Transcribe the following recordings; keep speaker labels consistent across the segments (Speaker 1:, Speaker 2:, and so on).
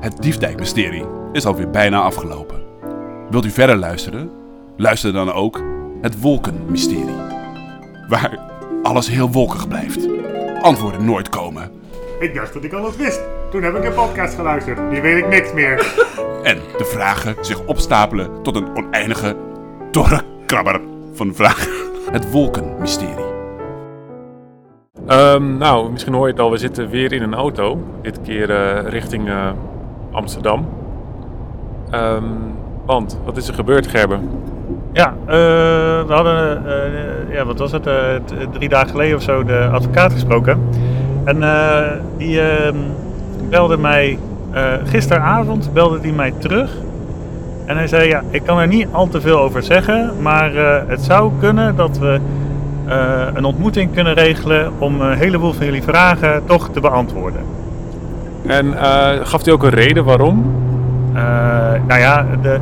Speaker 1: Het Diefdijk-mysterie is alweer bijna afgelopen. Wilt u verder luisteren? Luister dan ook Het Wolkenmysterie. Waar alles heel wolkig blijft. Antwoorden nooit komen.
Speaker 2: Ik dacht dat ik alles wist. Toen heb ik een podcast geluisterd. Nu weet ik niks meer.
Speaker 1: En de vragen zich opstapelen tot een oneindige torrenkrabber van vragen. Het Wolkenmysterie.
Speaker 3: Ehm, nou, misschien hoor je het al, we zitten weer in een auto. Dit keer eh, richting eh, Amsterdam. Ehm, want, wat is er gebeurd, Gerben?
Speaker 4: Ja, eh, we hadden, eh, ja, wat was het, eh, t- drie dagen geleden of zo, de advocaat gesproken. En eh, die ehm, belde mij, eh, gisteravond belde die mij terug. En hij zei, ja, ik kan er niet al te veel over zeggen, maar eh, het zou kunnen dat we eh, een ontmoeting kunnen regelen om een heleboel van jullie vragen toch te beantwoorden.
Speaker 3: En eh, gaf hij ook een reden waarom?
Speaker 4: Eh, nou ja, de,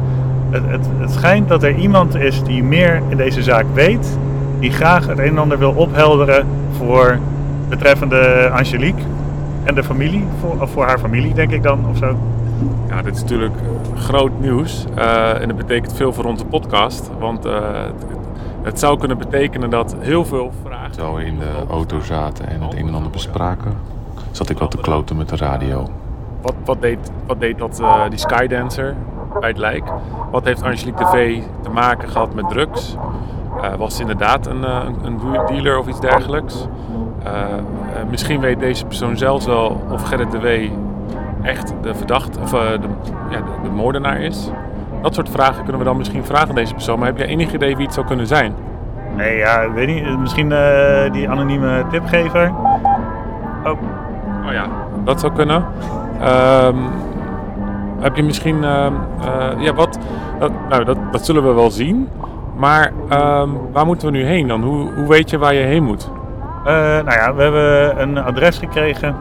Speaker 4: het, het, het schijnt dat er iemand is die meer in deze zaak weet. Die graag het een en ander wil ophelderen voor betreffende Angelique. En de familie, voor, of voor haar familie denk ik dan of zo.
Speaker 3: Ja, dit is natuurlijk eh, groot nieuws. eh, en dat betekent veel voor onze podcast. Want eh, het, het zou kunnen betekenen dat heel veel vragen...
Speaker 5: Terwijl we in de auto zaten en het een en ander bespraken, zat ik wat te kloten met de radio.
Speaker 3: Wat, wat, deed, wat deed dat, eh, die Skydancer bij het lijk? Wat heeft Angelique TV te maken gehad met drugs? Eh, was ze inderdaad een, eh, een- een boer- dealer of iets dergelijks? Eh, eh, misschien weet deze persoon zelfs wel of Gerrit de W echt de verdacht of eh, de, ja, de, de moordenaar is. Dat soort vragen kunnen we dan misschien vragen aan deze persoon. Maar heb jij enig idee wie het zou kunnen zijn?
Speaker 4: Nee, ja, ik weet niet. eh, Misschien eh, die anonieme tipgever. Oh,
Speaker 3: Oh ja, dat zou kunnen. Ehm, heb je misschien. ehm, eh, ja, wat. Dat, nou, dat, dat zullen we wel zien. Maar ehm, waar moeten we nu heen dan? Hoe, hoe weet je waar je heen moet?
Speaker 4: Eh, nou ja, we hebben een adres gekregen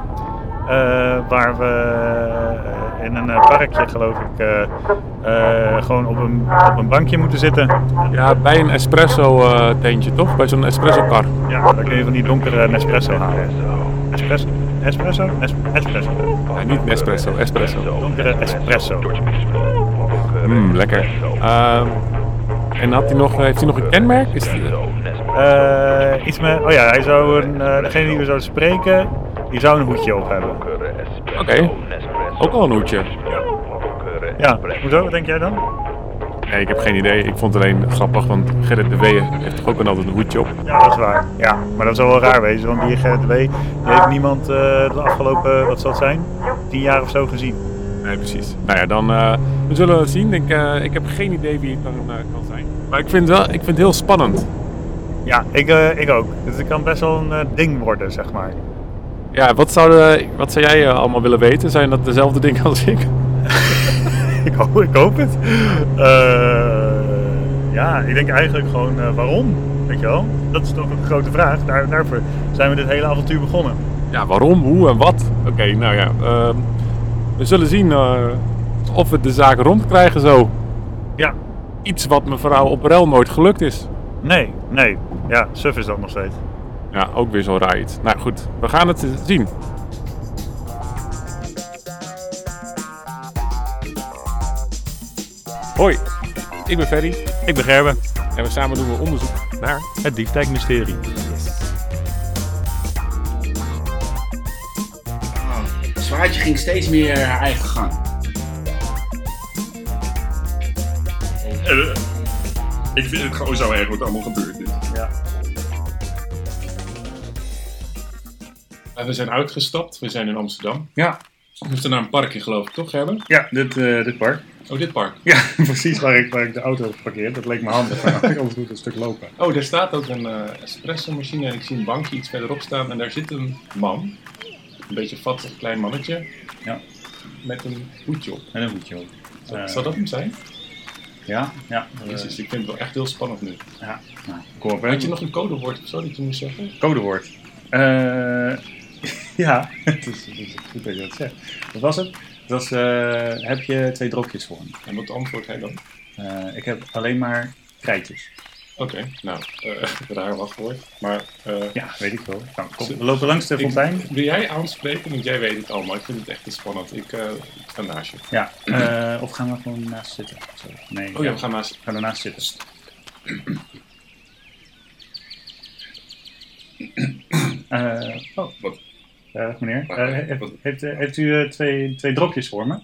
Speaker 4: eh, waar we eh, in een eh, parkje, geloof ik, eh, eh, gewoon op een, op een bankje moeten zitten.
Speaker 3: Ja, bij een espresso-teentje toch? Bij zo'n espresso-kar.
Speaker 4: Ja, dan kun je van die donkere Nespresso halen. Espresso? Espresso? Es- espresso.
Speaker 3: Nee, niet espresso, espresso.
Speaker 4: Donkere espresso.
Speaker 3: Mm, lekker. Ehm, en had hij nog, heeft hij nog een kenmerk? Is die-
Speaker 4: Eh, iets met, oh ja, hij zou een, eh, degene die we zouden spreken, die zou een hoedje op hebben.
Speaker 3: Oké, ook al een hoedje.
Speaker 4: Ja, hoezo? Wat denk jij dan?
Speaker 3: Nee, ik heb geen idee. Ik vond het alleen grappig, want Gerrit de Wee heeft toch ook een altijd een hoedje op.
Speaker 4: Ja, dat is waar. Ja, maar dat zou wel raar wezen, want die Gerrit W. die heeft niemand eh, de afgelopen, wat zal het zijn, tien jaar of zo gezien.
Speaker 3: Nee, precies. Nou ja, dan eh, we zullen het zien. Ik, eh, ik heb geen idee wie het dan eh, kan zijn. Maar ik vind, wel, ik vind het heel spannend.
Speaker 4: Ja, ik, eh, ik ook. Dus het kan best wel een eh, ding worden, zeg maar.
Speaker 3: Ja, wat zou, eh, wat zou jij eh, allemaal willen weten? Zijn dat dezelfde dingen als ik?
Speaker 4: ik, hoop, ik hoop het. Eh, ja, ik denk eigenlijk gewoon eh, waarom, weet je wel? Dat is toch een grote vraag. Daar, daarvoor zijn we dit hele avontuur begonnen.
Speaker 3: Ja, waarom, hoe en wat? Oké, nou ja. ehm, we zullen zien eh, of we de zaak rondkrijgen zo.
Speaker 4: Ja,
Speaker 3: Iets wat mevrouw Operel nooit gelukt is.
Speaker 4: nee, nee. Ja, suf is dat nog steeds.
Speaker 3: Ja, ook weer zo'n raar iets. Nou goed, we gaan het zien. Hoi, ik ben Ferry
Speaker 4: Ik ben Gerben,
Speaker 3: en we samen doen we onderzoek naar...
Speaker 4: het diefdijkmysterie.
Speaker 6: Zwaartje ging steeds meer haar eigen gang.
Speaker 7: Ik vind het gewoon zo erg wat allemaal gebeurd is.
Speaker 3: We zijn uitgestapt, we zijn in Amsterdam.
Speaker 7: Ja.
Speaker 3: We moeten naar een parkje geloof ik, toch Gerben?
Speaker 2: Ja, dit, eh, dit park.
Speaker 3: Oh, dit park.
Speaker 2: Ja, precies waar ik, waar ik de auto heb geparkeerd. Dat leek me handig. want Anders moet het een stuk lopen.
Speaker 3: Oh, daar staat ook een eh espresso machine en ik zie een bankje iets verderop staan en daar zit een man. Een beetje vattig klein mannetje.
Speaker 2: Ja.
Speaker 3: Met een hoedje op.
Speaker 2: En een hoedje ook.
Speaker 3: Zou,
Speaker 2: Eh.
Speaker 3: zou dat hem zijn?
Speaker 2: Ja, ja.
Speaker 3: Jezus, ik vind het wel echt heel spannend nu.
Speaker 2: ja. Nou, kom op, hè.
Speaker 3: Had je nog een codewoord of zo dat je moest zeggen?
Speaker 2: codewoord. Eh, ja, het is, het is Dus, goed dat je dat zegt. Wat was het? Het was, eh, heb je twee dropjes voor me?
Speaker 3: En wat antwoordt hij dan?
Speaker 2: Eh, ik heb alleen maar krijtjes.
Speaker 3: nou, eh raar wachtwoord. Maar eh,
Speaker 4: Ja, weet ik wel. Nou, kom. We lopen langs de
Speaker 3: ik-
Speaker 4: fontein.
Speaker 3: wil jij aanspreken? Want jij weet het allemaal. Ik vind het echt te spannend. Ik, eh, ik ga naast je.
Speaker 4: Ja, eh, of gaan we gewoon naast zitten? Zo. Nee,
Speaker 3: Oh ja, we gaan naast
Speaker 4: gaan ernaast zitten. Eh, oh,
Speaker 6: Wat?
Speaker 4: Dag, meneer.
Speaker 6: Wat?
Speaker 4: Eh, heeft, heeft, eh, heeft u eh, twee, twee dropjes voor me?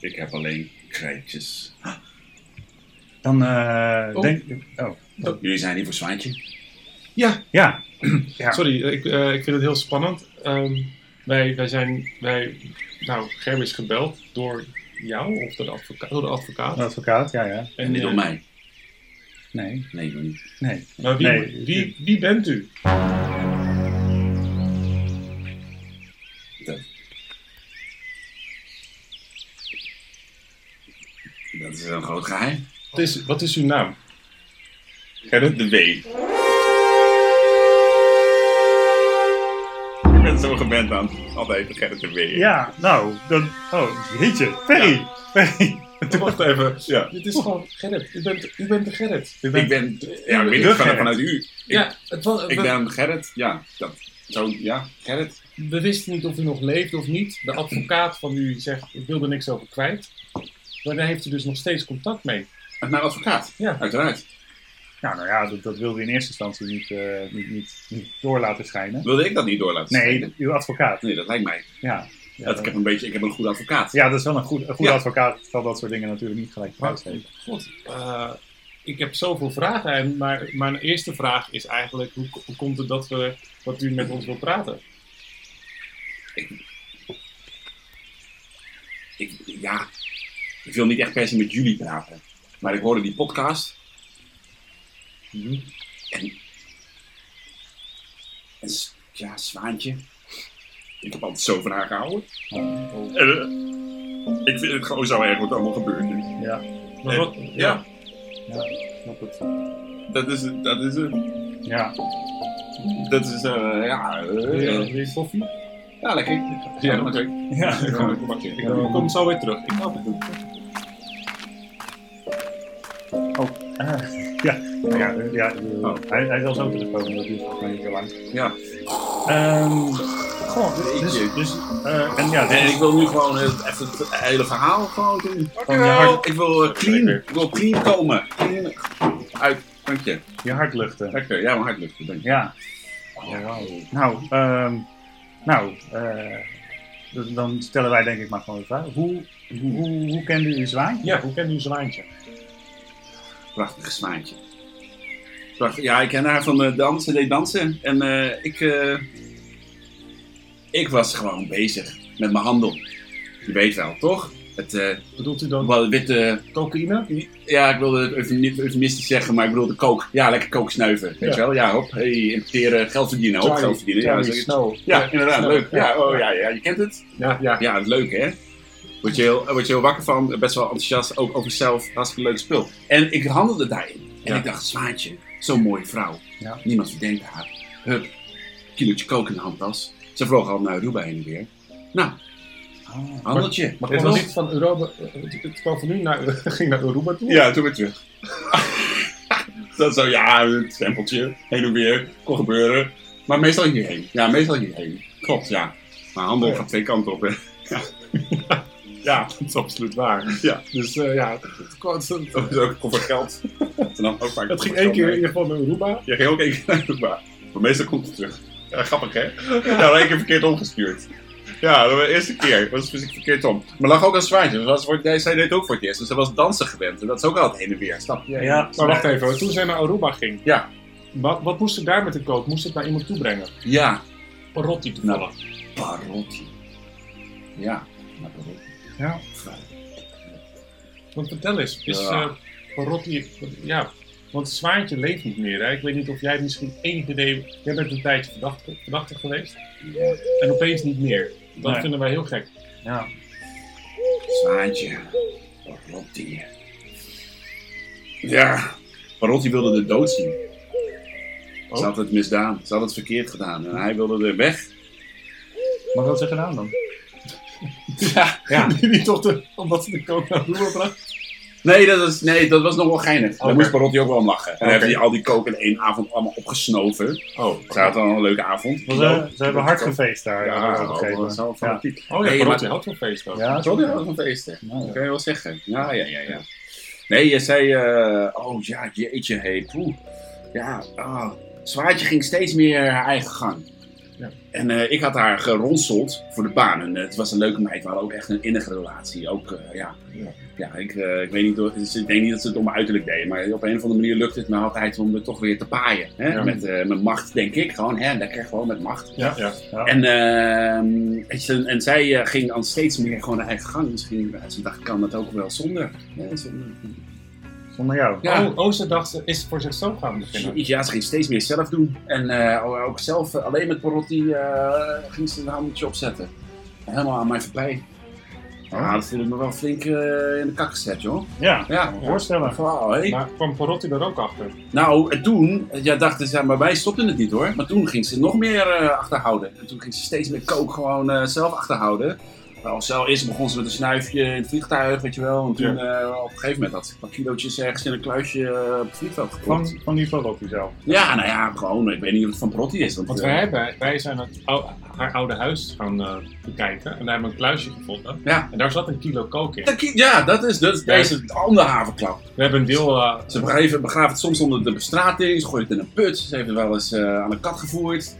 Speaker 6: Ik heb alleen krijtjes.
Speaker 4: Dan eh,
Speaker 3: Oh.
Speaker 4: denk Oh,
Speaker 6: Jullie zijn hier voor Zwaantje.
Speaker 4: ja. Ja.
Speaker 3: Sorry, ik, eh, ik vind het heel spannend. Ehm, wij, wij zijn, wij, nou, Germ is gebeld door jou of door de advocaat. Door de advocaat.
Speaker 4: Een advocaat, ja, ja.
Speaker 3: En,
Speaker 6: En niet
Speaker 3: eh,
Speaker 6: door mij.
Speaker 4: Nee,
Speaker 6: Nee, maar niet.
Speaker 4: nee.
Speaker 3: Maar wie,
Speaker 4: Nee.
Speaker 3: wie, wie bent u?
Speaker 6: Dat is een groot geheim.
Speaker 3: Wat is, wat is uw naam?
Speaker 6: Gerrit de W. Ik ben zo gewend aan altijd Gerrit de W.
Speaker 4: Ja, nou, dan... Oh, jeetje. Ferry! Ferry!
Speaker 3: Wacht even.
Speaker 6: Ja.
Speaker 3: Dit is gewoon Gerrit. U bent, u bent de Gerrit.
Speaker 4: U
Speaker 6: Ik
Speaker 4: bent-
Speaker 6: ben, ja, ik weet
Speaker 4: De
Speaker 6: het
Speaker 4: Gerrit.
Speaker 6: vanuit, vanuit u. Ik,
Speaker 3: ja, het was,
Speaker 6: ik
Speaker 3: we,
Speaker 6: ben Gerrit, ja, dat, zo, ja, Gerrit.
Speaker 3: we wisten niet of u nog leefde of niet. De advocaat van u zegt, ik wil er niks over kwijt. Maar daar heeft u dus nog steeds contact mee.
Speaker 6: Met mijn advocaat,
Speaker 3: Ja.
Speaker 6: uiteraard.
Speaker 4: Nou, nou ja, dat, dat wilde in eerste instantie niet, eh, niet, niet, niet door laten schijnen.
Speaker 6: Wilde ik dat niet door laten
Speaker 4: Nee,
Speaker 6: schijnen?
Speaker 4: uw advocaat.
Speaker 6: Nee, dat lijkt mij.
Speaker 4: Ja. Ja,
Speaker 6: Dat, ik heb een beetje, ik heb een goede advocaat.
Speaker 4: ja, dat is wel een goed, een goede
Speaker 6: Ja.
Speaker 4: advocaat. Ik zal dat soort dingen natuurlijk niet gelijk
Speaker 3: Maar,
Speaker 4: uitgeven.
Speaker 3: god, eh, ik heb zoveel vragen. En maar mijn eerste vraag is eigenlijk, hoe, hoe komt het dat, we, dat u met ons wil praten?
Speaker 6: Ik, ja, ik wil niet echt per se met jullie praten. Maar ik hoorde die podcast.
Speaker 3: Mhm.
Speaker 6: En, en s- ja, Zwaantje. Ik heb altijd zo van haar gehouden.
Speaker 3: Oh.
Speaker 6: eh,
Speaker 4: ik vind het gewoon zo erg wat allemaal gebeurt nu. Ja,
Speaker 3: Maar wat-
Speaker 6: Ja,
Speaker 4: snap het.
Speaker 6: dat is het. Dat is het.
Speaker 4: Ja,
Speaker 6: Dat is, eh, ja, eh,
Speaker 3: Wil
Speaker 6: ja.
Speaker 3: je- wil je koffie?
Speaker 6: lekker. Ja, maar lekker.
Speaker 4: ja.
Speaker 6: Ja, lekker.
Speaker 3: Ik eh, kom zo weer terug. Ik ga het doen.
Speaker 4: Ah, ja. Nou ja, eh, ja eh,
Speaker 3: Oh.
Speaker 4: hij, hij zal zo terugkomen. Dat duurt volgens mij niet zo lang.
Speaker 6: Ja,
Speaker 4: Ehm goh, dus...
Speaker 6: Jeetje.
Speaker 4: dus eh, en ja,
Speaker 6: en
Speaker 4: dus,
Speaker 6: ik wil nu gewoon het, even het hele verhaal gewoon doen.
Speaker 4: Van je hart.
Speaker 6: Ik wil eh, clean, ik wil clean komen. Clean uit, dank je.
Speaker 4: je hart luchten.
Speaker 6: Lekker, ja, mijn hart lukt. Dank je.
Speaker 4: Ja. Nou, ehm, nou eh, d- dan stellen wij denk ik maar gewoon de vraag. Hoe, hoe, hoe, hoe kende u Zwaan?
Speaker 3: Ja, hoe kent u Zwaantje?
Speaker 6: Prachtig smaantje. Prachtig. Ja, ik ken haar van de dansen, deed dansen. En eh, ik, eh, ik was gewoon bezig met mijn handel. Je weet wel, toch? Het, eh,
Speaker 3: Bedoelt u dan
Speaker 6: wel witte
Speaker 3: cocaïne?
Speaker 6: Ja, ik wilde het eufem- niet eufemistisch zeggen, maar ik bedoelde kook. Ja, lekker kook snuiven. Weet je wel? Ja, hop. Hey, importeren, geld verdienen. Hop, geld verdienen. Ja,
Speaker 3: Charlie
Speaker 6: zoiets.
Speaker 3: Snow.
Speaker 6: ja, inderdaad.
Speaker 3: Snow.
Speaker 6: Leuk. Ja, oh, ja, ja, je kent het.
Speaker 3: Ja, ja.
Speaker 6: Ja, leuk hè. Word je, heel, eh, word je heel wakker van, best wel enthousiast, ook over zelf, hartstikke leuk spul. En ik handelde daarin. En
Speaker 3: Ja.
Speaker 6: ik dacht, zwaantje, zo'n mooie vrouw.
Speaker 4: Ja.
Speaker 6: Niemand verdenkt haar. Hup, kilootje kook in de handtas. Ze vloog al naar Aruba heen en weer. Nou, handeltje.
Speaker 3: Ah. Maar
Speaker 6: Weet
Speaker 3: kwam het
Speaker 6: je
Speaker 3: niet van Europa, het het kwam van nu naar, ging naar Europa toe?
Speaker 6: Ja, toen weer terug. dat zou ja, het stempeltje, heen en weer, kon gebeuren. Maar meestal hierheen. Ja, meestal hierheen. Klopt, ja. Maar handel gaat twee kanten op, hè.
Speaker 3: Ja, dat is absoluut waar.
Speaker 6: Ja.
Speaker 3: Dus eh, ja, het, kwam- het- het-
Speaker 6: Dat is ook voor geld. Dat nam ook vaak
Speaker 3: het ging
Speaker 6: voor
Speaker 3: één keer in
Speaker 6: geld
Speaker 3: ieder geval naar Aruba.
Speaker 6: mee. Ja, ging ook één keer naar maar. Maar meestal komt het terug. Ja, grappig, hè? Ja, dan één keer verkeerd omgestuurd. Ja, dat was de eerste keer. Dat was fysiek verkeerd om. Maar lag ook een zwaardje. Dus dat was voor, nee, zij deed het ook voor het eerst. Dus dat was dansen gewend. En dat is ook altijd heen en weer. Snap je?
Speaker 4: Ja,
Speaker 3: Maar wacht even, toen zij naar Aruba ging,
Speaker 6: Ja.
Speaker 3: wat, wat moest ze daar met de kook? Moest ze het naar iemand toe brengen?
Speaker 6: Ja.
Speaker 3: Rotti toevallig.
Speaker 6: Parotti. Ja, maar Parotti.
Speaker 4: Ja.
Speaker 3: Want vertel eens, is
Speaker 6: Ja.
Speaker 3: eh Rotti, ja, want Zwaantje leeft niet meer. Hè? Ik weet niet of jij misschien enig idee, jij bent een tijdje verdachte, verdachte geweest. En opeens niet meer. Dat
Speaker 4: Nee.
Speaker 3: vinden wij heel gek.
Speaker 4: Ja.
Speaker 6: Zwaantje. Parotti. Ja, Parotti wilde de dood zien.
Speaker 3: Oh.
Speaker 6: Ze had het misdaan, ze had het verkeerd gedaan. En hij wilde er weg.
Speaker 4: Maar wat had ze gedaan dan?
Speaker 3: Ja,
Speaker 4: Ja.
Speaker 3: niet toch de, omdat ze de kook naar Roer bracht.
Speaker 6: Nee, dat was, nee, dat was nog wel geinig. Daar
Speaker 2: Oké.
Speaker 6: moest Barotti ook wel om lachen. En dan
Speaker 2: Oké.
Speaker 6: hebben die al die kook in één avond allemaal opgesnoven.
Speaker 2: Oh,
Speaker 6: Ze hadden dan een leuke avond.
Speaker 2: Want Ze, ze hebben hard gefeest daar.
Speaker 6: Ja,
Speaker 2: eh, op een gegeven
Speaker 6: dat
Speaker 2: moment.
Speaker 6: is wel
Speaker 2: ja.
Speaker 6: fanatiek.
Speaker 2: Oh ja,
Speaker 6: Nee,
Speaker 2: Barotti
Speaker 6: maar-
Speaker 2: had
Speaker 8: veel feest ook.
Speaker 2: Ja,
Speaker 6: Sorry, dat was een feest, hè? Dat kan je wel zeggen. Ja, ja, ja, ja. Nee, je zei... eh, oh ja, jeetje, hé. poeh. Ja, ah. Zwaartje ging steeds meer haar eigen gang.
Speaker 2: Ja.
Speaker 6: En eh, ik had haar geronseld voor de baan. En eh, het was een leuke meid. We hadden ook echt een innige relatie. Ook, eh, ja.
Speaker 2: Ja.
Speaker 6: Ja, ik, eh, ik, weet niet, of- dus ik denk niet dat ze het om mijn uiterlijk deden. Maar op een of andere manier lukte het me altijd om er toch weer te paaien. Hè?
Speaker 2: Ja.
Speaker 6: Met eh, mijn macht, denk ik. Gewoon, hè, lekker gewoon met macht.
Speaker 2: Ja, ja. ja.
Speaker 6: En, ehm, en, ze- en zij eh, ging dan steeds meer gewoon haar eigen gang. Misschien eh, ze dacht, kan dat ook wel zonder. Ja, zonder-
Speaker 2: Zonder jou.
Speaker 6: ja.
Speaker 3: Oh, ze dacht, is voor zichzelf gaan beginnen.
Speaker 6: ja, ze ging steeds meer zelf doen. En eh, ook zelf, eh, alleen met Parotti, eh, ging ze een handeltje opzetten. Helemaal aan mij voorbij. Ja, dat voelde ik me wel flink eh, in de kak gezet, joh.
Speaker 2: Ja,
Speaker 6: Ja.
Speaker 2: voorstellen.
Speaker 6: Wauw, hé.
Speaker 3: Maar kwam Parotti er ook achter?
Speaker 6: Nou, en toen, eh, ja, dachten ze, maar wij stopten het niet hoor. Maar toen ging ze nog meer eh, achterhouden. En toen ging ze steeds meer kook gewoon eh, zelf achterhouden. Nou, zelf, eerst begon ze met een snuifje in het vliegtuig, weet je wel. En toen eh, op een gegeven moment had ze een paar kilootjes ergens in een kluisje eh, op het vliegveld gekocht.
Speaker 2: Van, van die Barotti zelf.
Speaker 6: Ja, nou ja, gewoon. Ik weet niet of het van Protti is. Want,
Speaker 3: Want
Speaker 6: eh,
Speaker 3: wij, hebben, wij zijn het ou- haar oude huis gaan eh, bekijken. En daar hebben we een kluisje gevonden.
Speaker 6: Ja.
Speaker 3: En daar zat een kilo kook in.
Speaker 6: dat ki- ja, dat is, dat is
Speaker 3: Ja.
Speaker 6: deze andere havenklap.
Speaker 3: We hebben een deel... eh,
Speaker 6: Ze begraven, begraven het soms onder de bestrating, ze gooien het in een put. Ze heeft het wel eens eh, aan een kat gevoerd.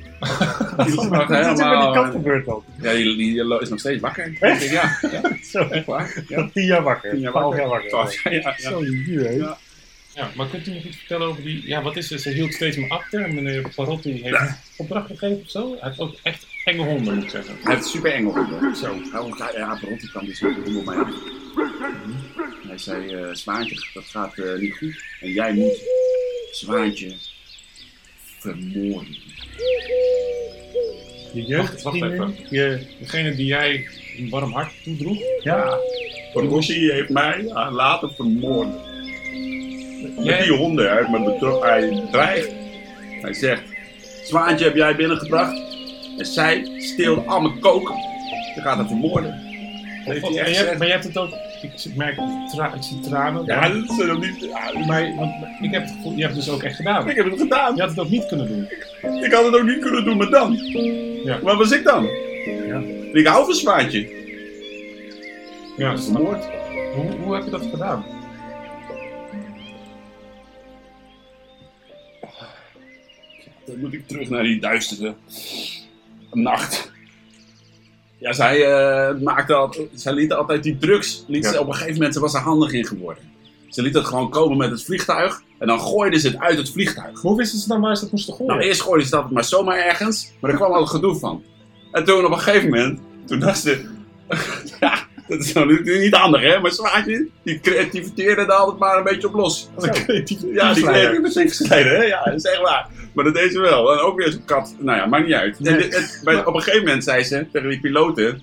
Speaker 2: Wat is er met die kat gebeurd dan?
Speaker 6: Ja, die, die is nog steeds wakker.
Speaker 2: Echt?
Speaker 6: Ja, ja,
Speaker 2: Zo,
Speaker 6: echt waar. Ja.
Speaker 2: tien jaar wakker.
Speaker 6: Tien jaar
Speaker 2: Twaalf
Speaker 6: wakker.
Speaker 2: jaar wakker.
Speaker 6: Ja, ja, ja.
Speaker 2: Zo, hier, hè.
Speaker 3: ja, maar kunt u nog iets vertellen over die... Ja, wat is ze? Ze hield steeds meer achter. En meneer Parotti heeft opdracht gegeven of zo. Hij heeft ook echt enge honden, moet ik zeggen.
Speaker 6: Hij heeft super eng op. Zo. Oh, ja, ja, Barotti kwam dus met de hond op mij aan. Hij zei, eh, Zwaantje, dat gaat eh, niet goed. En jij moet Zwaantje vermoorden.
Speaker 2: Je jeugd.
Speaker 3: Wacht, wacht even.
Speaker 2: Je,
Speaker 3: Degene die jij een warm hart toedroeg.
Speaker 2: ja,
Speaker 6: Barotti heeft mij laten vermoorden. Met
Speaker 3: Jij-
Speaker 6: die honden, hij, heeft me bedro- hij dreigt. Hij zegt, Zwaantje heb jij binnengebracht. En zij steelt al mijn kook. Ze gaat haar vermoorden. Dat
Speaker 3: Oh,
Speaker 6: heeft
Speaker 3: Maar
Speaker 6: hij
Speaker 3: jij,
Speaker 6: echt
Speaker 3: hebt-
Speaker 6: gezegd.
Speaker 3: maar jij hebt het ook... Ik zie- merk, tra- ik zie tranen.
Speaker 6: Ja, dat is hem niet. ja,
Speaker 3: Maar, want ik heb het gevoel, je hebt het dus ook echt gedaan.
Speaker 6: Ik heb het gedaan.
Speaker 3: Je had het ook niet kunnen doen.
Speaker 6: Ik had het ook niet kunnen doen, maar dan.
Speaker 3: Ja.
Speaker 6: Waar was ik dan? Ik hou van Zwaantje.
Speaker 3: Ja,
Speaker 6: Dat is vermoord.
Speaker 3: Hoe, hoe heb je dat gedaan?
Speaker 6: Dan moet ik terug naar die duistere nacht. Ja, zij, eh, maakte al, zij liet altijd die drugs. Liet
Speaker 3: Ja.
Speaker 6: ze, op een gegeven moment ze was er handig in geworden. Ze liet het gewoon komen met het vliegtuig. En dan gooiden ze het uit het vliegtuig.
Speaker 3: Hoe wisten ze dan waar ze dat moesten gooien?
Speaker 6: Nou, eerst gooiden ze dat maar zomaar ergens. Maar er kwam al het gedoe van. En toen op een gegeven moment, toen dacht ze... ja, dat is nou niet, niet handig hè. Maar Zwaantje, die creativiteerde er altijd maar een beetje op los. Ja, die
Speaker 3: Teamsleider.
Speaker 6: kleding met slijden, hè? Ja, dat is echt waar. Maar dat deed ze wel. En ook weer zo'n kat. Nou ja, maakt niet uit. En dit- het- bij- op een gegeven moment zei ze tegen die piloten...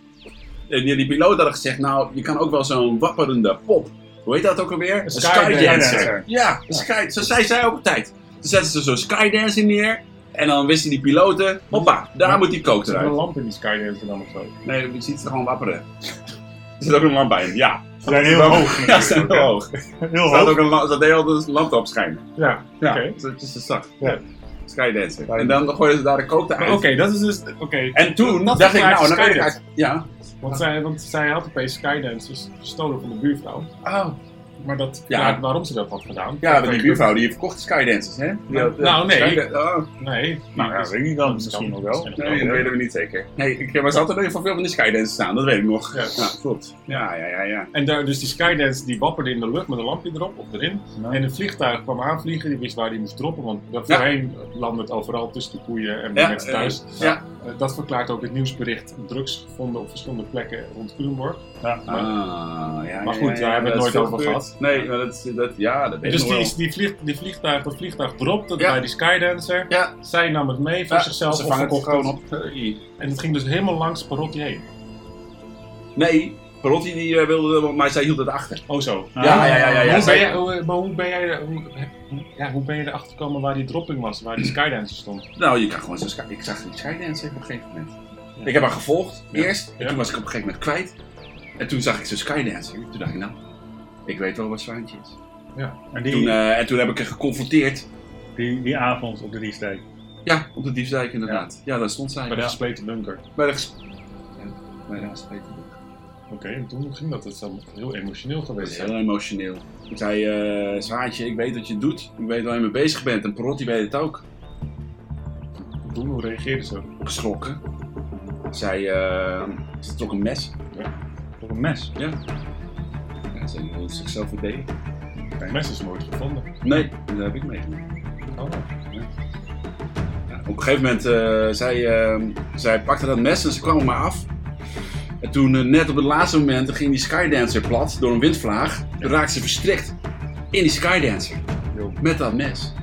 Speaker 6: En die, die piloten hadden gezegd, nou, je kan ook wel zo'n wapperende pop. Hoe heet dat ook alweer? Een
Speaker 3: skydancer.
Speaker 6: Ja, een sky, zo zei zij ook op tijd. Toen zetten ze zo'n skydancer neer. En dan wisten die piloten, hoppa, daar
Speaker 3: Maar-
Speaker 6: moet die kook
Speaker 3: Zit er een
Speaker 6: eruit.
Speaker 3: lamp in die Skydancer dan of zo?
Speaker 6: Nee, je ziet ze gewoon wapperen. Er zit ook een lamp bij, ja.
Speaker 2: ze zijn heel hoog.
Speaker 6: Ja, ze zijn heel hoog. Er
Speaker 2: Heel
Speaker 6: staat ook
Speaker 2: hoog.
Speaker 6: een lamp, dat deed al de lamp op schijnen.
Speaker 3: Ja, oké.
Speaker 6: Ja, dat is de stad.
Speaker 2: Ja.
Speaker 6: Skydancer. En dan gooiden ze daar de kook
Speaker 3: Maar
Speaker 6: uit.
Speaker 3: Oké, dat is dus... Oké.
Speaker 6: En toen
Speaker 3: Dat
Speaker 6: dacht ik,
Speaker 3: verklaart
Speaker 6: nou, dan ben ik
Speaker 3: Skydancer.
Speaker 6: uit. Ja.
Speaker 3: Want, zij, want zij had opeens Skydancers gestolen van de buurvrouw.
Speaker 6: Oh.
Speaker 3: Maar dat
Speaker 6: Ja.
Speaker 3: verklaart waarom ze dat had gedaan.
Speaker 6: Ja, maar die buurvrouw die verkocht Skydancers, hè? Die had, eh,
Speaker 3: Nou, nee.
Speaker 6: Skyda- oh,
Speaker 3: Nee. die-
Speaker 2: Nou ja, weet ik niet dan. Misschien nog wel.
Speaker 6: nee, dat weten we niet zeker. Nee, ik was altijd nog van veel van die Skydancers staan, dat weet ik nog.
Speaker 3: Ja.
Speaker 6: klopt. Ja, ja, ja, ja.
Speaker 3: En daar, dus die Skydance die wapperde in de lucht met een lampje erop of erin.
Speaker 2: Nou.
Speaker 3: En een vliegtuig kwam aanvliegen, die wist waar die moest droppen. Want dat
Speaker 6: Ja.
Speaker 3: voorheen landde het overal tussen de koeien en de
Speaker 6: Ja,
Speaker 3: mensen
Speaker 6: eh,
Speaker 3: thuis.
Speaker 6: ja.
Speaker 3: Eh, dat verklaart ook het nieuwsbericht drugs gevonden op verschillende plekken rond Culemborg.
Speaker 6: Ah, ja,
Speaker 3: Maar
Speaker 6: ja,
Speaker 3: goed,
Speaker 6: ja,
Speaker 3: daar
Speaker 6: ja,
Speaker 3: hebben we het
Speaker 6: dat is
Speaker 3: nooit
Speaker 6: veel
Speaker 3: over
Speaker 6: gebeurd.
Speaker 3: gehad.
Speaker 6: Nee, maar dat, is- dat, ja, dat weet
Speaker 3: Dus
Speaker 6: ik nog
Speaker 3: die, die, vlieg, die vliegtuig, dat vliegtuig dropte
Speaker 6: Ja.
Speaker 3: bij die Skydancer.
Speaker 6: Ja.
Speaker 3: Zij nam het mee voor
Speaker 6: Ja,
Speaker 3: zichzelf
Speaker 6: ze
Speaker 3: of
Speaker 6: vangen het
Speaker 3: verkocht
Speaker 6: gewoon
Speaker 3: het. En het ging dus helemaal langs Parotti heen.
Speaker 6: wel. Nee, Parotti die eh, wilde, wel, maar zij hield het achter.
Speaker 3: Oh zo. Ah,
Speaker 6: Ja, ja, ja, ja. ja,
Speaker 3: hoe ben
Speaker 6: zij-
Speaker 3: jij, hoe, maar hoe ben jij, hoe, hoe- ja, hoe ben je erachter gekomen waar die dropping was, waar die Skydancer stond?
Speaker 6: Nou, je kan gewoon zo'n sky- Ik zag die skydancer op een gegeven moment. Ik heb haar gevolgd,
Speaker 3: Ja.
Speaker 6: eerst. En
Speaker 3: Ja.
Speaker 6: toen was ik op een gegeven moment kwijt. En toen zag ik zo'n skydancer. Toen dacht ik, nou, Ik weet wel wat zwaantje is.
Speaker 2: En
Speaker 6: Toen,
Speaker 2: die,
Speaker 6: eh, en toen heb ik er geconfronteerd.
Speaker 2: die, die avond op de Riesdijk.
Speaker 6: Ja, op de diefsdijk inderdaad. Ja, daar stond zij.
Speaker 3: Bij de gespleten bunker.
Speaker 6: Bij de ges- Ja, bij de gespleten.
Speaker 3: Oké, en toen ging dat. Het zal heel emotioneel
Speaker 6: Dat
Speaker 3: geweest
Speaker 6: is
Speaker 3: zijn.
Speaker 6: heel emotioneel. Ik zei, eh Zwaantje, ik weet wat je doet. Ik weet waar je mee bezig bent. En Perotti weet het ook.
Speaker 3: Toen, hoe reageerde ze?
Speaker 6: Geschrokken. Zij, eh, ze trok een mes.
Speaker 2: Op een mes.
Speaker 6: Ja, ze wilde zichzelf verdedigen.
Speaker 3: Mijn mes is nooit gevonden.
Speaker 6: Nee, dat heb ik meegemaakt.
Speaker 3: Oh,
Speaker 6: Ja, op een gegeven moment, eh, zij, eh, zij pakte dat mes en ze kwam op me af. En toen, eh, net op het laatste moment, ging die Skydancer plat door een windvlaag. Toen raakte ze verstrikt in die Skydancer.
Speaker 3: Jo.
Speaker 6: Met dat mes.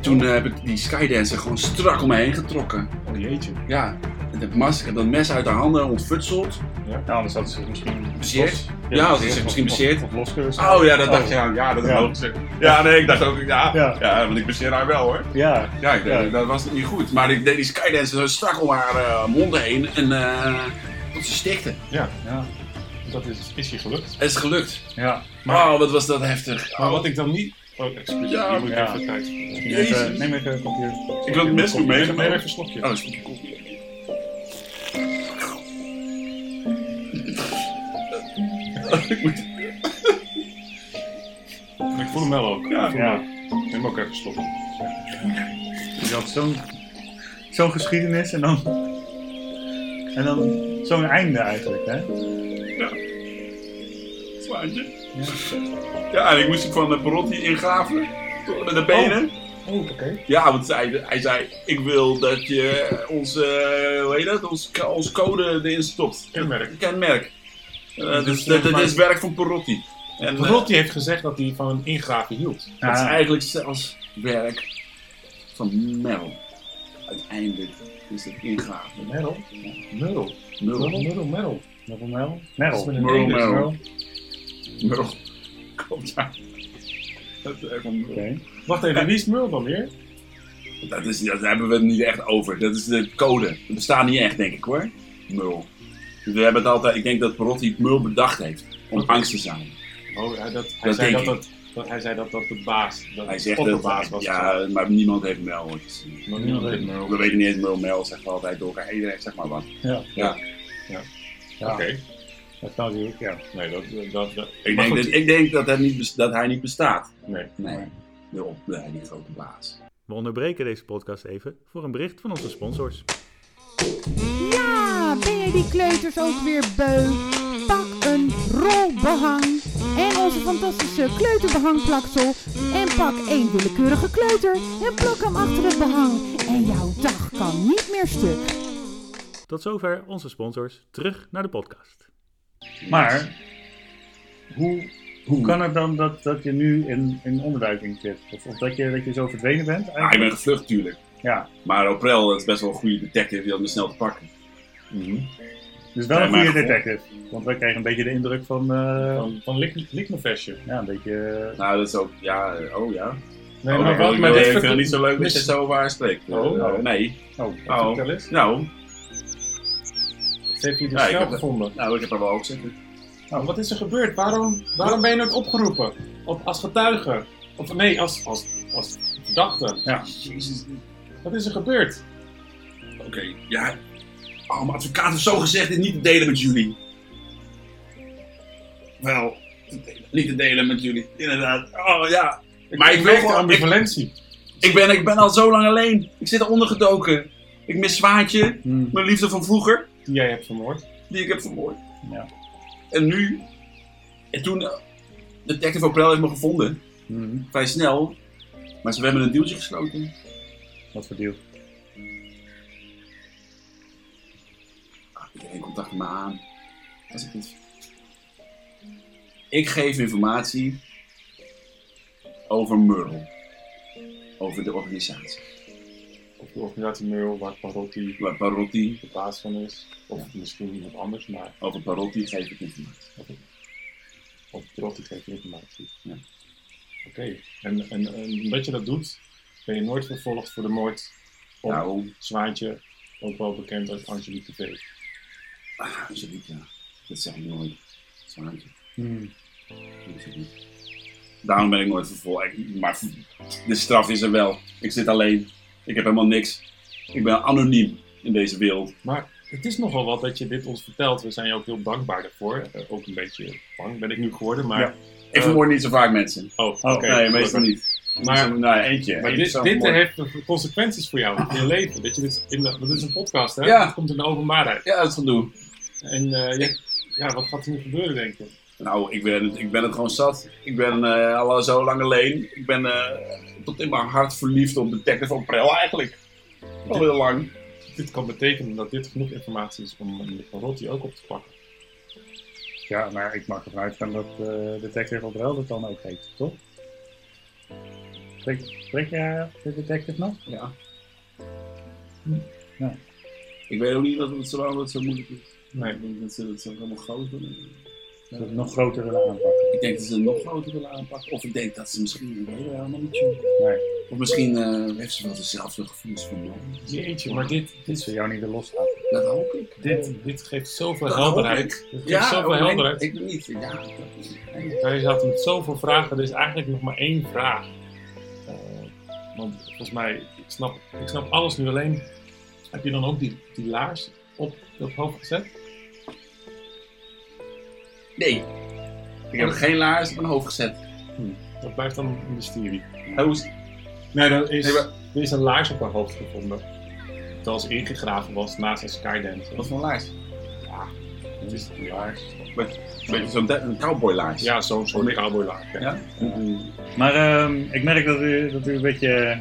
Speaker 6: Toen eh, heb ik die Skydancer gewoon strak om me heen getrokken.
Speaker 3: oh jeetje.
Speaker 6: Ja, en de mas, ik heb dat mes uit haar handen ontfutseld.
Speaker 2: Nou, anders hadden ze het misschien...
Speaker 6: Bezeerd?
Speaker 2: los-
Speaker 6: Ja, anders is het misschien
Speaker 2: of- of-
Speaker 6: bezeerd.
Speaker 2: Of los kunnen staan.
Speaker 6: Oh ja, dat dacht je aan. Ja, dat
Speaker 2: Ja.
Speaker 6: had ik gezegd. Ja, nee, ik dacht ook, ja.
Speaker 2: Ja.
Speaker 6: want ik bezeer haar wel hoor.
Speaker 2: Ja,
Speaker 6: Ja, ik dacht,
Speaker 2: Ja.
Speaker 6: dat was niet goed. Maar ik deed die skydancer zo strak om haar eh, monden heen en eh, tot ze stikte.
Speaker 3: Dat is, is je gelukt.
Speaker 6: Het is gelukt.
Speaker 2: ja.
Speaker 6: Maar oh, wat was dat heftig.
Speaker 3: Maar
Speaker 6: Oh,
Speaker 3: wat ik dan niet... Oh, excuus.
Speaker 6: Ja,
Speaker 3: Hier moet ik
Speaker 2: ja.
Speaker 3: even kijken.
Speaker 2: Neem even,
Speaker 6: Jezus.
Speaker 2: neem even een kopje.
Speaker 6: ik wil het mes goed
Speaker 3: Neem
Speaker 6: meegenomen.
Speaker 3: even een slokje.
Speaker 6: Oh, dat is goed. Cool. Ik moet-
Speaker 3: Ik voel hem wel ook. Ik voel
Speaker 2: Ja.
Speaker 3: hem ook. Neem ook even een slokje.
Speaker 2: Je had zo'n zo'n geschiedenis en dan, en dan zo'n einde eigenlijk, hè?
Speaker 6: Zwaantje. Ja, en ik moest hem van de Perotti ingraven. Tot Met de benen.
Speaker 3: Oh, oké.
Speaker 6: Ja, want hij, hij zei, ik wil dat je onze, eh, hoe heet dat, ons, ons code erin stopt.
Speaker 3: Kenmerk.
Speaker 6: Kenmerk. Eh,
Speaker 3: Dus
Speaker 6: dus
Speaker 3: zeg
Speaker 6: dat, dat
Speaker 3: maar-
Speaker 6: is werk van Perotti. En, eh,
Speaker 3: Rotti heeft gezegd dat hij van een ingraven hield.
Speaker 6: dat is
Speaker 2: Ah.
Speaker 6: eigenlijk zelfs werk van Mel. Uiteindelijk is het ingraven.
Speaker 3: Merel? Merel.
Speaker 6: Mel.
Speaker 3: Merel, Merel, Merel.
Speaker 2: Merel, Merel.
Speaker 3: Dat is met
Speaker 2: Merel.
Speaker 3: een
Speaker 6: Merel,
Speaker 3: E, dus
Speaker 6: Merel.
Speaker 3: Merel.
Speaker 6: Mel. Komt daar. Dat is echt van Mel.
Speaker 2: Oké.
Speaker 3: Wacht even, wie is Merel dan weer?
Speaker 6: Dat is, dat, daar hebben we het niet echt over. Dat is de code. Dat bestaat niet echt, denk ik hoor. Mul. We hebben het altijd, ik denk dat Perotti het mul bedacht heeft. Om angst te zijn.
Speaker 3: Oh, hij, dat, hij,
Speaker 6: Dat
Speaker 3: zei dat,
Speaker 6: denk ik.
Speaker 3: dat, dat, hij zei dat dat de baas, dat
Speaker 6: Hij zegt dat
Speaker 3: opperbaas was.
Speaker 6: Ja, maar niemand heeft Mel ooit gezien.
Speaker 3: Nog niemand weet Merel.
Speaker 6: We weten niet eens Mel Mel, zegt altijd door elkaar. Iedereen zegt maar wat.
Speaker 3: Oké,
Speaker 2: Ja, dat is natuurlijk, ja.
Speaker 3: nee, dat... dat, dat
Speaker 6: Ik
Speaker 3: maar
Speaker 6: denk,
Speaker 3: goed,
Speaker 6: dat, ik denk dat, hij niet, bes- dat hij niet bestaat.
Speaker 3: Nee.
Speaker 6: Nee. De, op, nee, die grote baas.
Speaker 4: We onderbreken deze podcast even voor een bericht van onze sponsors.
Speaker 9: Ja, ben jij die kleuters ook weer beu? Pak een rolbehang en onze fantastische kleuterbehangplaksel. En pak één willekeurige kleuter en plak hem achter het behang. En jouw dag kan niet meer stuk.
Speaker 4: Tot zover onze sponsors. Terug naar de podcast.
Speaker 2: Maar, hoe, hoe kan het dan dat, dat je nu in, in onderduiking zit? Of, of dat, je, dat je zo verdwenen bent Oh,
Speaker 6: Ah, ik
Speaker 2: eigenlijk?
Speaker 6: ben gevlucht, tuurlijk.
Speaker 2: Ja.
Speaker 6: Maar Oprel dat is best wel een goede detective. Die had me snel te pakken.
Speaker 3: Mhm.
Speaker 2: Dus wel een
Speaker 6: Nee, maar
Speaker 2: goede
Speaker 6: goed.
Speaker 2: detective. Want wij kregen een beetje de indruk van, eh,
Speaker 3: van, van Lik- Likmefestje.
Speaker 2: ja, een beetje... eh,
Speaker 6: Nou, dat is ook... Ja, eh, oh ja.
Speaker 3: Nee,
Speaker 6: oh,
Speaker 3: maar
Speaker 6: dat wil
Speaker 3: wat
Speaker 6: ik
Speaker 3: met
Speaker 6: wel
Speaker 3: dit
Speaker 6: even-
Speaker 3: vertel-
Speaker 6: niet zo leuk dat je
Speaker 3: mis-
Speaker 6: zo waar spreekt. Eh,
Speaker 3: Oh, nou.
Speaker 6: Nee.
Speaker 2: Oh,
Speaker 6: Oh.
Speaker 3: Vertel eens.
Speaker 6: Nou,
Speaker 3: Ze heeft hij dus
Speaker 6: Ja, ik
Speaker 3: snel
Speaker 6: heb-
Speaker 3: gevonden.
Speaker 6: nou, ik heb er wel ook zitten.
Speaker 3: Nou, wat is er gebeurd? Waarom, waarom ben je nooit opgeroepen? Op, als getuige? Of nee, als, als, als verdachte.
Speaker 2: Ja.
Speaker 6: Jezus.
Speaker 3: Wat is er gebeurd?
Speaker 6: Oké, ja. Oh, mijn advocaat heeft zo gezegd dit niet te delen met jullie. Wel, te delen. niet te delen met jullie. Inderdaad. Oh ja. Maar ik wil
Speaker 3: merk de
Speaker 6: gewoon... ik-
Speaker 3: ambivalentie.
Speaker 6: Ik ben, ik ben al zo lang alleen. Ik zit eronder gedoken. Ik mis Zwaantje,
Speaker 2: hmm.
Speaker 6: mijn liefde van vroeger,
Speaker 3: die jij hebt vermoord.
Speaker 6: die ik heb vermoord.
Speaker 2: Ja.
Speaker 6: En nu, en toen, eh, Detective Oprel heeft me gevonden,
Speaker 2: Mhm.
Speaker 6: vrij snel. Maar ze hebben een dealtje gesloten.
Speaker 2: Wat voor deal.
Speaker 6: Ah, Iedereen komt achter me aan. Dat is goed. Ik geef informatie over Merle. Over de organisatie.
Speaker 3: Of de organisatie Merel, waar Parotti
Speaker 6: Waar Parotti,
Speaker 3: de baas van is. Of misschien iemand anders, maar
Speaker 6: over Parotti geef ik informatie.
Speaker 3: of Parotti geeft informatie.
Speaker 6: Ja.
Speaker 3: Oké, en, en, en omdat je dat doet, ben je nooit vervolgd voor de moord op
Speaker 6: Nou,
Speaker 3: Zwaantje, ook wel bekend als Angelique de Vee.
Speaker 6: ah, Angelique, ja. dat zeg ik nooit. Zwaantje.
Speaker 2: Hmm.
Speaker 6: Dat is het niet. Daarom ben ik nooit vervolgd. Maar de straf is er wel. Ik zit alleen. Ik heb helemaal niks. Ik ben anoniem in deze wereld.
Speaker 3: Maar het is nogal wat dat je dit ons vertelt. We zijn je ook heel dankbaar daarvoor. Eh, ook een beetje bang ben ik nu geworden, maar...
Speaker 2: Ja.
Speaker 6: Ik
Speaker 3: Eh,
Speaker 6: vermoord niet zo vaak mensen.
Speaker 3: Oh, oké.
Speaker 6: nee,
Speaker 3: gelukkig.
Speaker 6: meestal niet.
Speaker 3: Maar-
Speaker 6: Zo- nou, eentje.
Speaker 3: Maar
Speaker 6: Eentje
Speaker 3: dit,
Speaker 6: zou
Speaker 3: dit
Speaker 6: vermoord.
Speaker 3: heeft consequenties voor jou in je leven. Dat je dit, in de, want dit is een podcast, hè?
Speaker 6: Ja.
Speaker 3: Het komt in de openbaarheid.
Speaker 6: Ja, dat is gedoe.
Speaker 3: En eh, ja, ja, wat gaat er nu gebeuren, denk je?
Speaker 6: Nou, ik ben, het- ik ben het gewoon zat. Ik ben eh, al zo lang alleen. Ik ben eh, tot in mijn hart verliefd op Detective van Prel eigenlijk. Al heel lang.
Speaker 3: Dit kan betekenen dat dit genoeg informatie is om meneer Van Rotti ook op te pakken.
Speaker 2: Ja, maar ik mag ervan uitgaan dat eh, de detective Obrel dat dan ook heeft, toch? Spreek, spreek je de detective nog?
Speaker 6: Ja.
Speaker 2: Hm, ja.
Speaker 6: Ik weet ook niet wat het zo, wat zo moeilijk is.
Speaker 3: Nee.
Speaker 6: Ik denk dat ze dat ze het allemaal groot willen.
Speaker 2: Dat we het nog groter willen aanpakken.
Speaker 6: Ik denk dat ze het nog groter willen aanpakken. Of ik denk dat ze misschien ik weet het helemaal niet zo.
Speaker 2: Nee.
Speaker 6: Of misschien eh, heeft ze wel dezelfde gevoelens van mij.
Speaker 3: Jeetje, maar dit,
Speaker 2: Dat
Speaker 3: dit,
Speaker 2: ze jou niet weer loslaten.
Speaker 6: Dat hoop ik.
Speaker 3: dit, dit geeft zoveel
Speaker 6: Dat
Speaker 3: helderheid.
Speaker 6: hoop ik.
Speaker 3: Dit geeft
Speaker 6: Ja,
Speaker 3: zoveel
Speaker 6: oh, nee,
Speaker 3: helderheid.
Speaker 6: Ik ben niet. Ja, dat is-
Speaker 3: Wij zaten met zoveel vragen, er is eigenlijk nog maar één vraag. Eh, want volgens mij, ik snap, ik snap alles nu alleen. Heb je dan ook die, die laars op dat hoofd gezet?
Speaker 6: Nee. Ik heb geen laars op mijn hoofd gezet.
Speaker 3: Dat blijft dan een mysterie.
Speaker 6: Hoe is-
Speaker 3: Nee, er is,
Speaker 6: Nee, maar-
Speaker 3: er is een laars op haar hoofd gevonden. Terwijl ze ingegraven was naast een skydance.
Speaker 6: Wat voor laars?
Speaker 3: Het is een laars.
Speaker 6: Een beetje zo'n de- een cowboylaars.
Speaker 3: Ja, zo'n soort cowboylaars. Ja.
Speaker 6: Ja?
Speaker 2: Maar ehm, ik merk dat u, dat u een beetje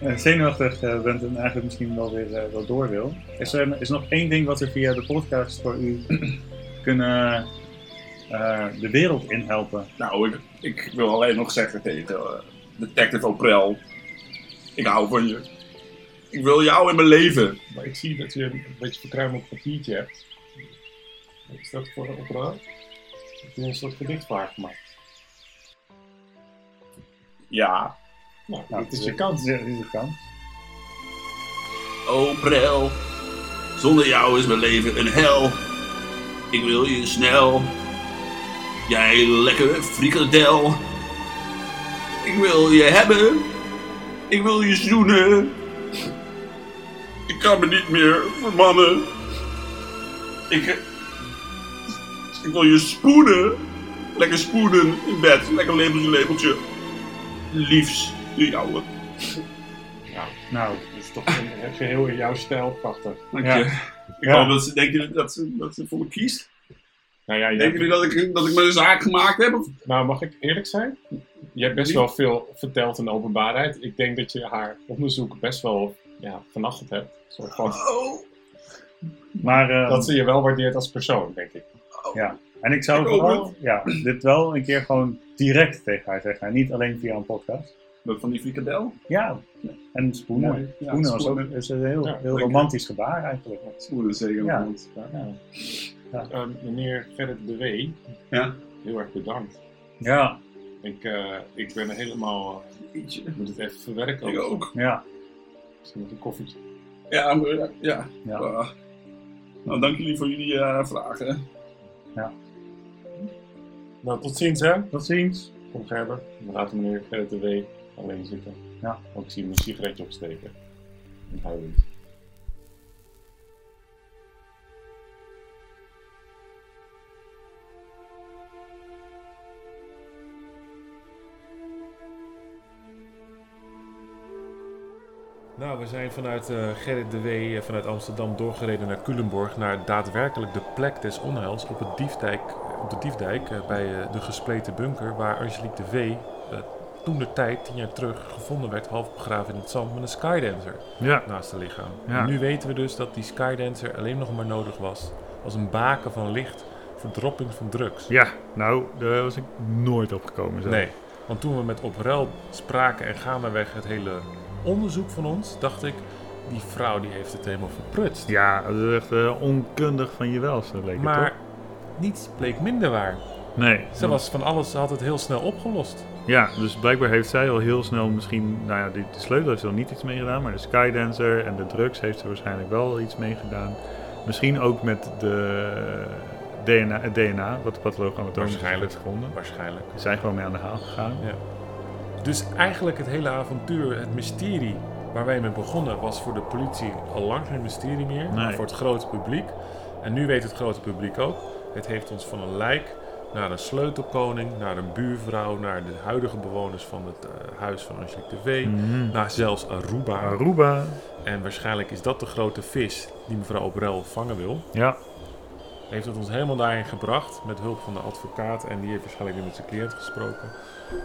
Speaker 2: eh, zenuwachtig eh, bent en eigenlijk misschien wel weer eh, wel door wil. Is er is er nog één ding wat we via de podcast voor u kunnen eh, de wereld in helpen?
Speaker 6: Nou, ik, ik wil alleen nog zeggen tegen eh, Detective Oprel. Ik hou van je. Ik wil jou in mijn leven.
Speaker 3: Maar ik zie dat je een beetje verkruimeld papiertje hebt. Wat Is dat voor een opraad? Heb je een soort gedicht gemaakt?
Speaker 6: Ja.
Speaker 3: Nou,
Speaker 2: Nou,
Speaker 3: dit is je kans.
Speaker 2: Dit is je kans.
Speaker 6: Oprel. Zonder jou is mijn leven een hel. Ik wil je snel. Jij lekkere frikadel. Ik wil je hebben. Ik wil je zoenen. Ik kan me niet meer vermannen. Ik, ik wil je spoenen. Lekker spoenen in bed. Lekker lepeltje, lepeltje. Liefs, de jouwe.
Speaker 2: Nou,
Speaker 3: Het is dus toch een geheel in jouw stijl prachtig.
Speaker 6: Dank
Speaker 2: Ja.
Speaker 6: je. Ik
Speaker 2: Ja.
Speaker 6: hoop dat ze, denk je dat ze, dat ze voor me kiest?
Speaker 3: Nou ja,
Speaker 6: Denken
Speaker 3: jij,
Speaker 6: jullie dat ik, dat ik mijn zaak gemaakt heb? Of-
Speaker 3: nou mag ik eerlijk zijn? Je hebt best wel veel verteld in de openbaarheid. Ik denk dat je haar onderzoek best wel ja, vernacht hebt. Een soort van-
Speaker 6: Oh,
Speaker 2: maar, ehm,
Speaker 3: dat ze je wel waardeert als persoon, denk ik.
Speaker 2: en ik zou
Speaker 6: Ik hoop
Speaker 2: vooral ja, dit wel een keer gewoon direct tegen haar zeggen. En niet alleen via een podcast.
Speaker 6: dat van die frikadel?
Speaker 2: Ja, en spoenen.
Speaker 6: Mooi. Ja,
Speaker 2: spoenen was ook
Speaker 6: spoenen.
Speaker 2: is een heel,
Speaker 3: Ja,
Speaker 2: heel
Speaker 6: leuk,
Speaker 2: romantisch gebaar eigenlijk.
Speaker 6: Spoelen zeker.
Speaker 2: Ja.
Speaker 6: want-
Speaker 2: Ja.
Speaker 3: Eh, meneer Gerrit de W,
Speaker 6: Ja.
Speaker 3: heel erg bedankt.
Speaker 2: Ja,
Speaker 3: Ik, eh, ik ben er helemaal...
Speaker 6: Ietsje.
Speaker 3: Ik moet het even verwerken.
Speaker 6: Ik ook.
Speaker 2: ja.
Speaker 3: Misschien nog een koffietje.
Speaker 6: Ja, maar, ja. ja.
Speaker 2: Ja.
Speaker 6: Ah. Nou, dank jullie voor jullie eh, vragen.
Speaker 3: Nou, tot ziens hè.
Speaker 2: Tot ziens.
Speaker 3: Kom Gerber. We laten meneer Gerrit de W alleen zitten.
Speaker 2: Ja.
Speaker 3: Ook zie hem een sigaretje opsteken. En huilend. Nou, we zijn vanuit eh, Gerrit de W. eh, vanuit Amsterdam doorgereden naar Culemborg. Naar daadwerkelijk de plek des onheils op, het diefdijk, op de Diefdijk. eh, bij eh, de gespleten bunker. Waar Angelique de W. eh, toen de tijd, tien jaar terug, gevonden werd. Half begraven in het zand met een skydancer
Speaker 4: Ja,
Speaker 3: naast haar lichaam.
Speaker 4: Ja.
Speaker 3: En Nu weten we dus dat die skydancer alleen nog maar nodig was. Als een baken van licht. Verdropping van drugs.
Speaker 4: ja. nou, daar was ik nooit op gekomen. Zo.
Speaker 3: Nee, want toen we met Oprel spraken en gaandeweg het hele onderzoek van ons, dacht ik, die vrouw die heeft het helemaal verprutst.
Speaker 4: Ja, dat is echt eh, onkundig van je wel, zo leek het
Speaker 3: maar niets bleek minder waar.
Speaker 4: toch? Nee.
Speaker 3: Ze was van alles, ze had het heel snel opgelost.
Speaker 4: Ja, dus blijkbaar heeft zij al heel snel misschien... Nou ja, die, de sleutel heeft ze al niet iets mee gedaan, maar de skydancer en de eh, drugs heeft ze waarschijnlijk wel iets mee gedaan. Misschien ook met de, DNA, het DNA wat de patholoog-anatoom
Speaker 3: Waarschijnlijk.
Speaker 4: gevonden.
Speaker 3: Waarschijnlijk.
Speaker 4: Ze zijn gewoon mee aan de haal gegaan.
Speaker 3: Dus eigenlijk het hele avontuur, het mysterie waar wij mee begonnen, was voor de politie al lang geen mysterie meer. Maar
Speaker 4: Nee.
Speaker 3: voor het grote publiek. En nu weet het grote publiek ook. Het heeft ons van een lijk naar een sleutelkoning, naar een buurvrouw, naar de huidige bewoners van het eh, huis van Angelique de
Speaker 4: Hmm.
Speaker 3: V. Naar zelfs Aruba.
Speaker 4: Mhm. Aruba.
Speaker 3: En waarschijnlijk is dat de grote vis die mevrouw Obrel vangen wil.
Speaker 4: Ja.
Speaker 3: Heeft het ons helemaal daarin gebracht met hulp van de advocaat en die heeft waarschijnlijk weer met zijn cliënt gesproken.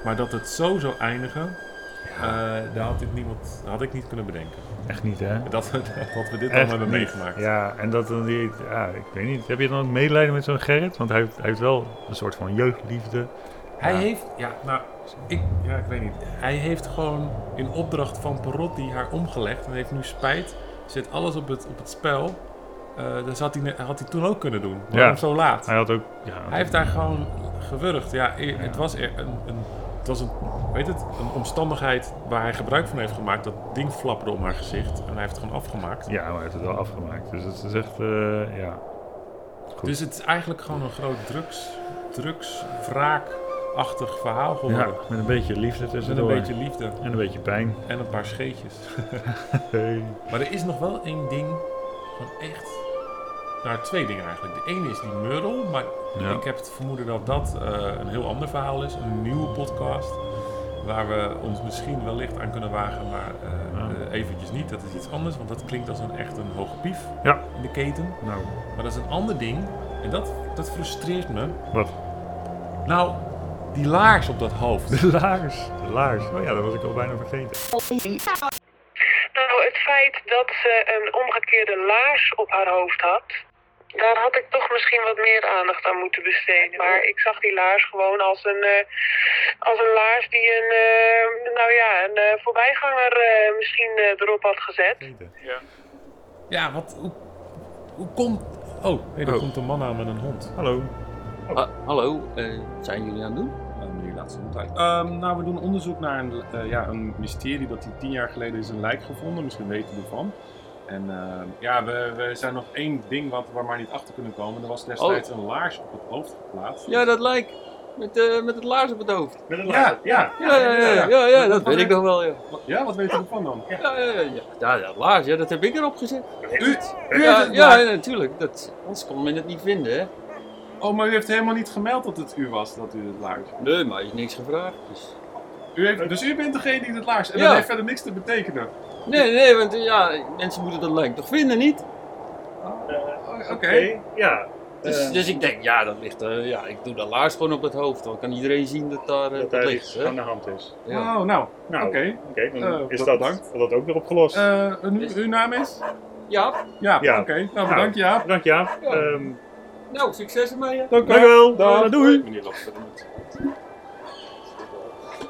Speaker 3: Maar dat het zo zou eindigen, eh, daar had ik, niemand, had ik niet kunnen bedenken.
Speaker 4: Echt niet, hè?
Speaker 3: Dat, we- dat we dit
Speaker 4: Echt
Speaker 3: allemaal hebben
Speaker 4: niet.
Speaker 3: meegemaakt.
Speaker 4: Ja, en dat dan die... Ja, ik weet niet. Heb je dan ook medelijden met zo'n Gerrit? Want hij heeft, hij heeft wel een soort van jeugdliefde.
Speaker 3: Hij
Speaker 4: Ja.
Speaker 3: heeft, ja, nou, ik, ja, ik weet niet. Hij heeft gewoon in opdracht van Perotti haar omgelegd en heeft nu spijt. Zet alles op het, op het spel. Eh dat had hij, ne- had hij toen ook kunnen doen. Waarom zo laat?
Speaker 4: Hij had ook... Ja,
Speaker 3: Hij heeft daar gewoon gewurgd. Ja, i- het was er een, een, het was een, weet het, een omstandigheid waar hij gebruik van heeft gemaakt. Dat ding flapperde om haar gezicht en hij heeft het gewoon afgemaakt.
Speaker 4: ja, maar hij heeft het wel afgemaakt. Dus het is echt... eh, ja. Goed.
Speaker 3: Dus het is eigenlijk gewoon een groot drugs, drugswraakachtig verhaal
Speaker 4: ja,
Speaker 3: geworden.
Speaker 4: met een beetje liefde
Speaker 3: Met
Speaker 4: tussendoor.
Speaker 3: een beetje liefde
Speaker 4: En een beetje pijn.
Speaker 3: en een paar scheetjes.
Speaker 4: Hey.
Speaker 3: Maar er is nog wel één ding, gewoon echt. Nou, twee dingen eigenlijk. De ene is die Merel, maar
Speaker 4: Ja.
Speaker 3: ik heb het vermoeden dat dat eh, een heel ander verhaal is. Een nieuwe podcast. Waar we ons misschien wellicht aan kunnen wagen, maar eh,
Speaker 4: Ja.
Speaker 3: eh, eventjes niet. Dat is iets anders, want dat klinkt als een echt een hoge pief
Speaker 4: Ja.
Speaker 3: in de keten.
Speaker 4: Nou,
Speaker 3: Maar dat is een ander ding. En dat, dat frustreert me.
Speaker 4: wat?
Speaker 3: Nou, die laars op dat hoofd.
Speaker 4: De laars. De laars. Oh ja, dat was ik al bijna vergeten.
Speaker 10: Nou, het feit dat ze een omgekeerde laars op haar hoofd had, daar had ik toch misschien wat meer aandacht aan moeten besteden. Maar ik zag die laars gewoon als een, eh, als een laars die een, eh, nou ja, een eh, voorbijganger eh, misschien eh, erop had gezet.
Speaker 3: Ja, wat. Hoe, hoe komt. Oh, nee, er
Speaker 4: Oh.
Speaker 3: komt een man aan met een hond.
Speaker 4: Hallo.
Speaker 11: Ah, hallo, eh, wat zijn jullie aan het doen?
Speaker 3: Um, die laatste hond uit. nou, we doen onderzoek naar een, eh, ja, een mysterie dat hij tien jaar geleden is een lijk gevonden. Misschien weten we ervan. En ehm, ja, we, we zijn nog één ding wat, waar we maar niet achter kunnen komen. Er was destijds een laars op het hoofd geplaatst.
Speaker 11: Oh. Ja, Eh, dat lijkt. Met, eh, met het laars op het hoofd.
Speaker 2: Met het
Speaker 3: ja,
Speaker 2: laatste.
Speaker 3: ja,
Speaker 11: Ja, ja, ja, ja, ja, dat weet ik nog wel, ja.
Speaker 3: Wat- Ja, wat weten we ervan dan? Ja.
Speaker 11: Ja, ja, ja, ja. ja, ja, laars, ja, dat heb ik erop gezet.
Speaker 3: U, u
Speaker 11: Ja,
Speaker 3: heeft het
Speaker 11: ja,
Speaker 3: laars-
Speaker 11: ja, natuurlijk. Dat, anders kon men het niet vinden, hè.
Speaker 3: Oh, maar u heeft helemaal niet gemeld dat het u was dat u het laars.
Speaker 11: Nee, maar hij is niks gevraagd. Dus.
Speaker 3: U heeft, dus u bent degene die het laars. En
Speaker 11: Ja.
Speaker 3: dat heeft verder niks te betekenen.
Speaker 11: Nee, nee, want eh, ja, mensen moeten dat lijk toch vinden, niet?
Speaker 3: Oké.
Speaker 4: Ja. Eh,
Speaker 11: Dus, dus ik denk, ja, dat ligt, eh, ja, ik doe dat laars gewoon op het hoofd. Dan kan iedereen zien dat daar eh,
Speaker 2: Dat
Speaker 11: dat,
Speaker 2: daar
Speaker 11: ligt,
Speaker 2: iets
Speaker 11: hè.
Speaker 2: aan de hand is.
Speaker 11: Ja.
Speaker 3: Oh, nou,
Speaker 2: Nou,
Speaker 3: oké.
Speaker 2: oké, dan
Speaker 3: Eh,
Speaker 2: is
Speaker 3: be-
Speaker 2: dat,
Speaker 3: bedankt.
Speaker 2: dat ook weer opgelost.
Speaker 3: Eh, en uw- uw naam is?
Speaker 11: ja,
Speaker 3: Ja,
Speaker 2: Ja.
Speaker 3: oké. Nou, bedankt Jaap.
Speaker 4: Dank Jaap.
Speaker 11: Ja.
Speaker 4: Ehm,
Speaker 11: nou, succes ermee, hè.
Speaker 3: Dank
Speaker 4: dankjewel.
Speaker 3: Dag.
Speaker 4: Eh, doei.
Speaker 3: Meneer Lasser.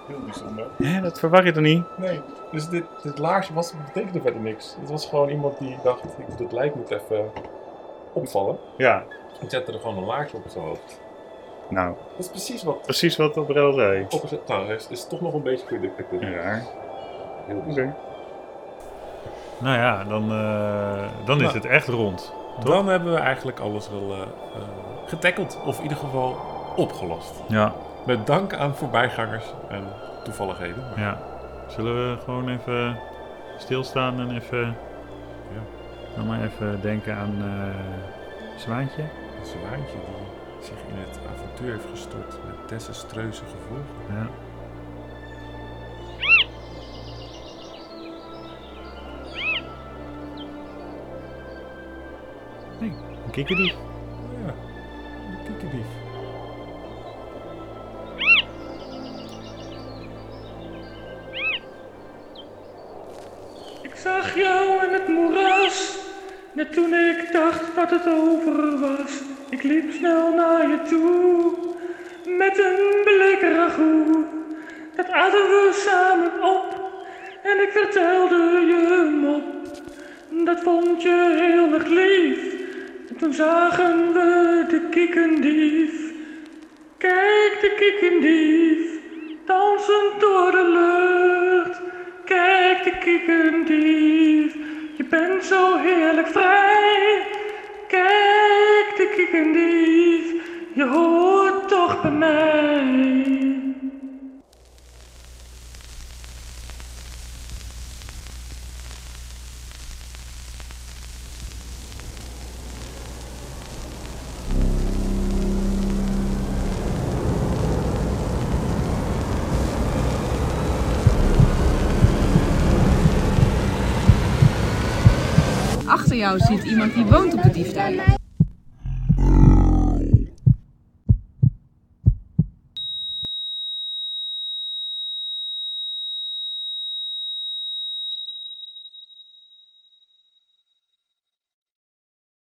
Speaker 2: Heel bijzonder.
Speaker 4: Hè, dat verwar je toch niet?
Speaker 3: Nee, dus dit, dit laarsje was, betekende verder niks. Het was gewoon iemand die dacht, ik moet het lijk moet even opvallen.
Speaker 4: Ja.
Speaker 3: En zette er gewoon een laarsje op zijn hoofd.
Speaker 4: Nou,
Speaker 3: Dat is precies wat
Speaker 4: precies wat Obrel zei.
Speaker 3: opgezet. Nou, hij is, is toch nog een beetje predictable.
Speaker 4: Raar.
Speaker 3: Heel
Speaker 4: Oké. Nou ja, dan, eh, dan is
Speaker 3: Nou.
Speaker 4: het echt rond.
Speaker 3: Dan hebben we eigenlijk alles wel getackeld, of in ieder geval opgelost.
Speaker 4: Ja.
Speaker 3: Met dank aan voorbijgangers en toevalligheden.
Speaker 4: ja. Zullen we gewoon even stilstaan en even... Dan maar even denken aan eh Zwaantje.
Speaker 3: Een zwaantje die zich in het avontuur heeft gestort met desastreuze gevolgen.
Speaker 4: Ja. Nee, een kikkerdief.
Speaker 3: Ja, een kikkerdief.
Speaker 10: Ik zag jou in het moeras, net toen ik dacht dat het over was. Ik liep snel naar je toe, met een blik ragout. Dat aten we samen op, en ik vertelde je een mop. Dat vond je heel erg lief, en toen zagen we de kikkendief. Kijk de kikkendief, dansend door de lucht. Kijk de kikkendief, je bent zo heerlijk vrij. Kijk de ik ben dief, je hoort toch bij mij.
Speaker 9: Achter jou zit iemand die woont op de diefdijk.